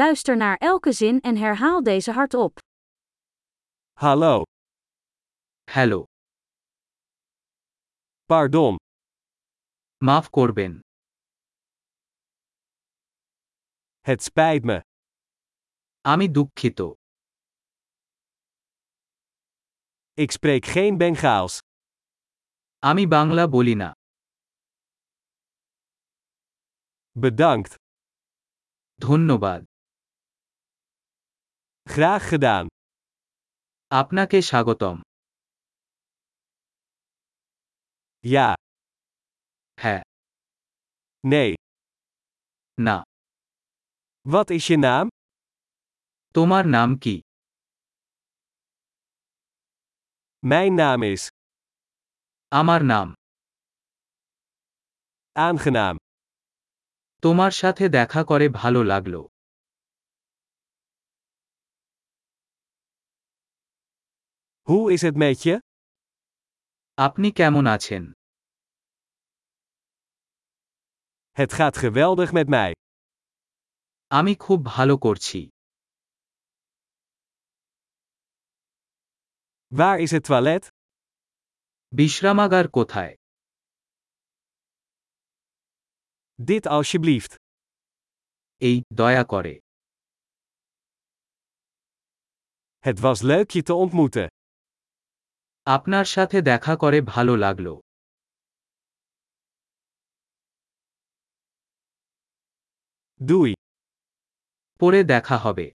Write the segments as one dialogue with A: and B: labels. A: Luister naar elke zin en herhaal deze hardop.
B: Hallo,
C: hello
B: pardon,
C: মাফ করবেন
B: het spijt me.
C: আমি দুঃখিত
B: Ik spreek geen Bengaals.
C: আমি বাংলা বলি না
B: Bedankt,
C: ধন্যবাদ
B: graag gedaan.
C: আপনাকে স্বাগতম
B: Ja,
C: হ্যাঁ
B: nee.
C: না
B: Wat is je naam?
C: তোমার নাম কি
B: Mijn naam is.
C: আমার নাম
B: Aangenaam.
C: তোমার সাথে দেখা করে ভালো লাগলো
B: Hoe is het met je?
C: আপনি কেমন আছেন
B: Het gaat geweldig met mij.
C: আমি খুব ভালো করছি
B: Waar is het toilet?
C: বিশ্রামাগার কোথায়
B: Dit alsjeblieft.
C: এই দয়া করে
B: Het was leuk je te ontmoeten.
C: আপনার সাথে দেখা করে ভালো লাগলো
B: Doei.
C: পরে দেখা হবে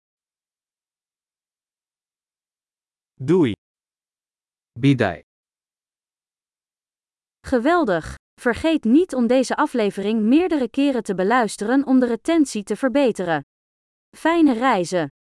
B: Doei.
C: বিদায়
A: Geweldig! Vergeet niet om deze aflevering meerdere keren te beluisteren om de retentie te verbeteren. Fijne reizen!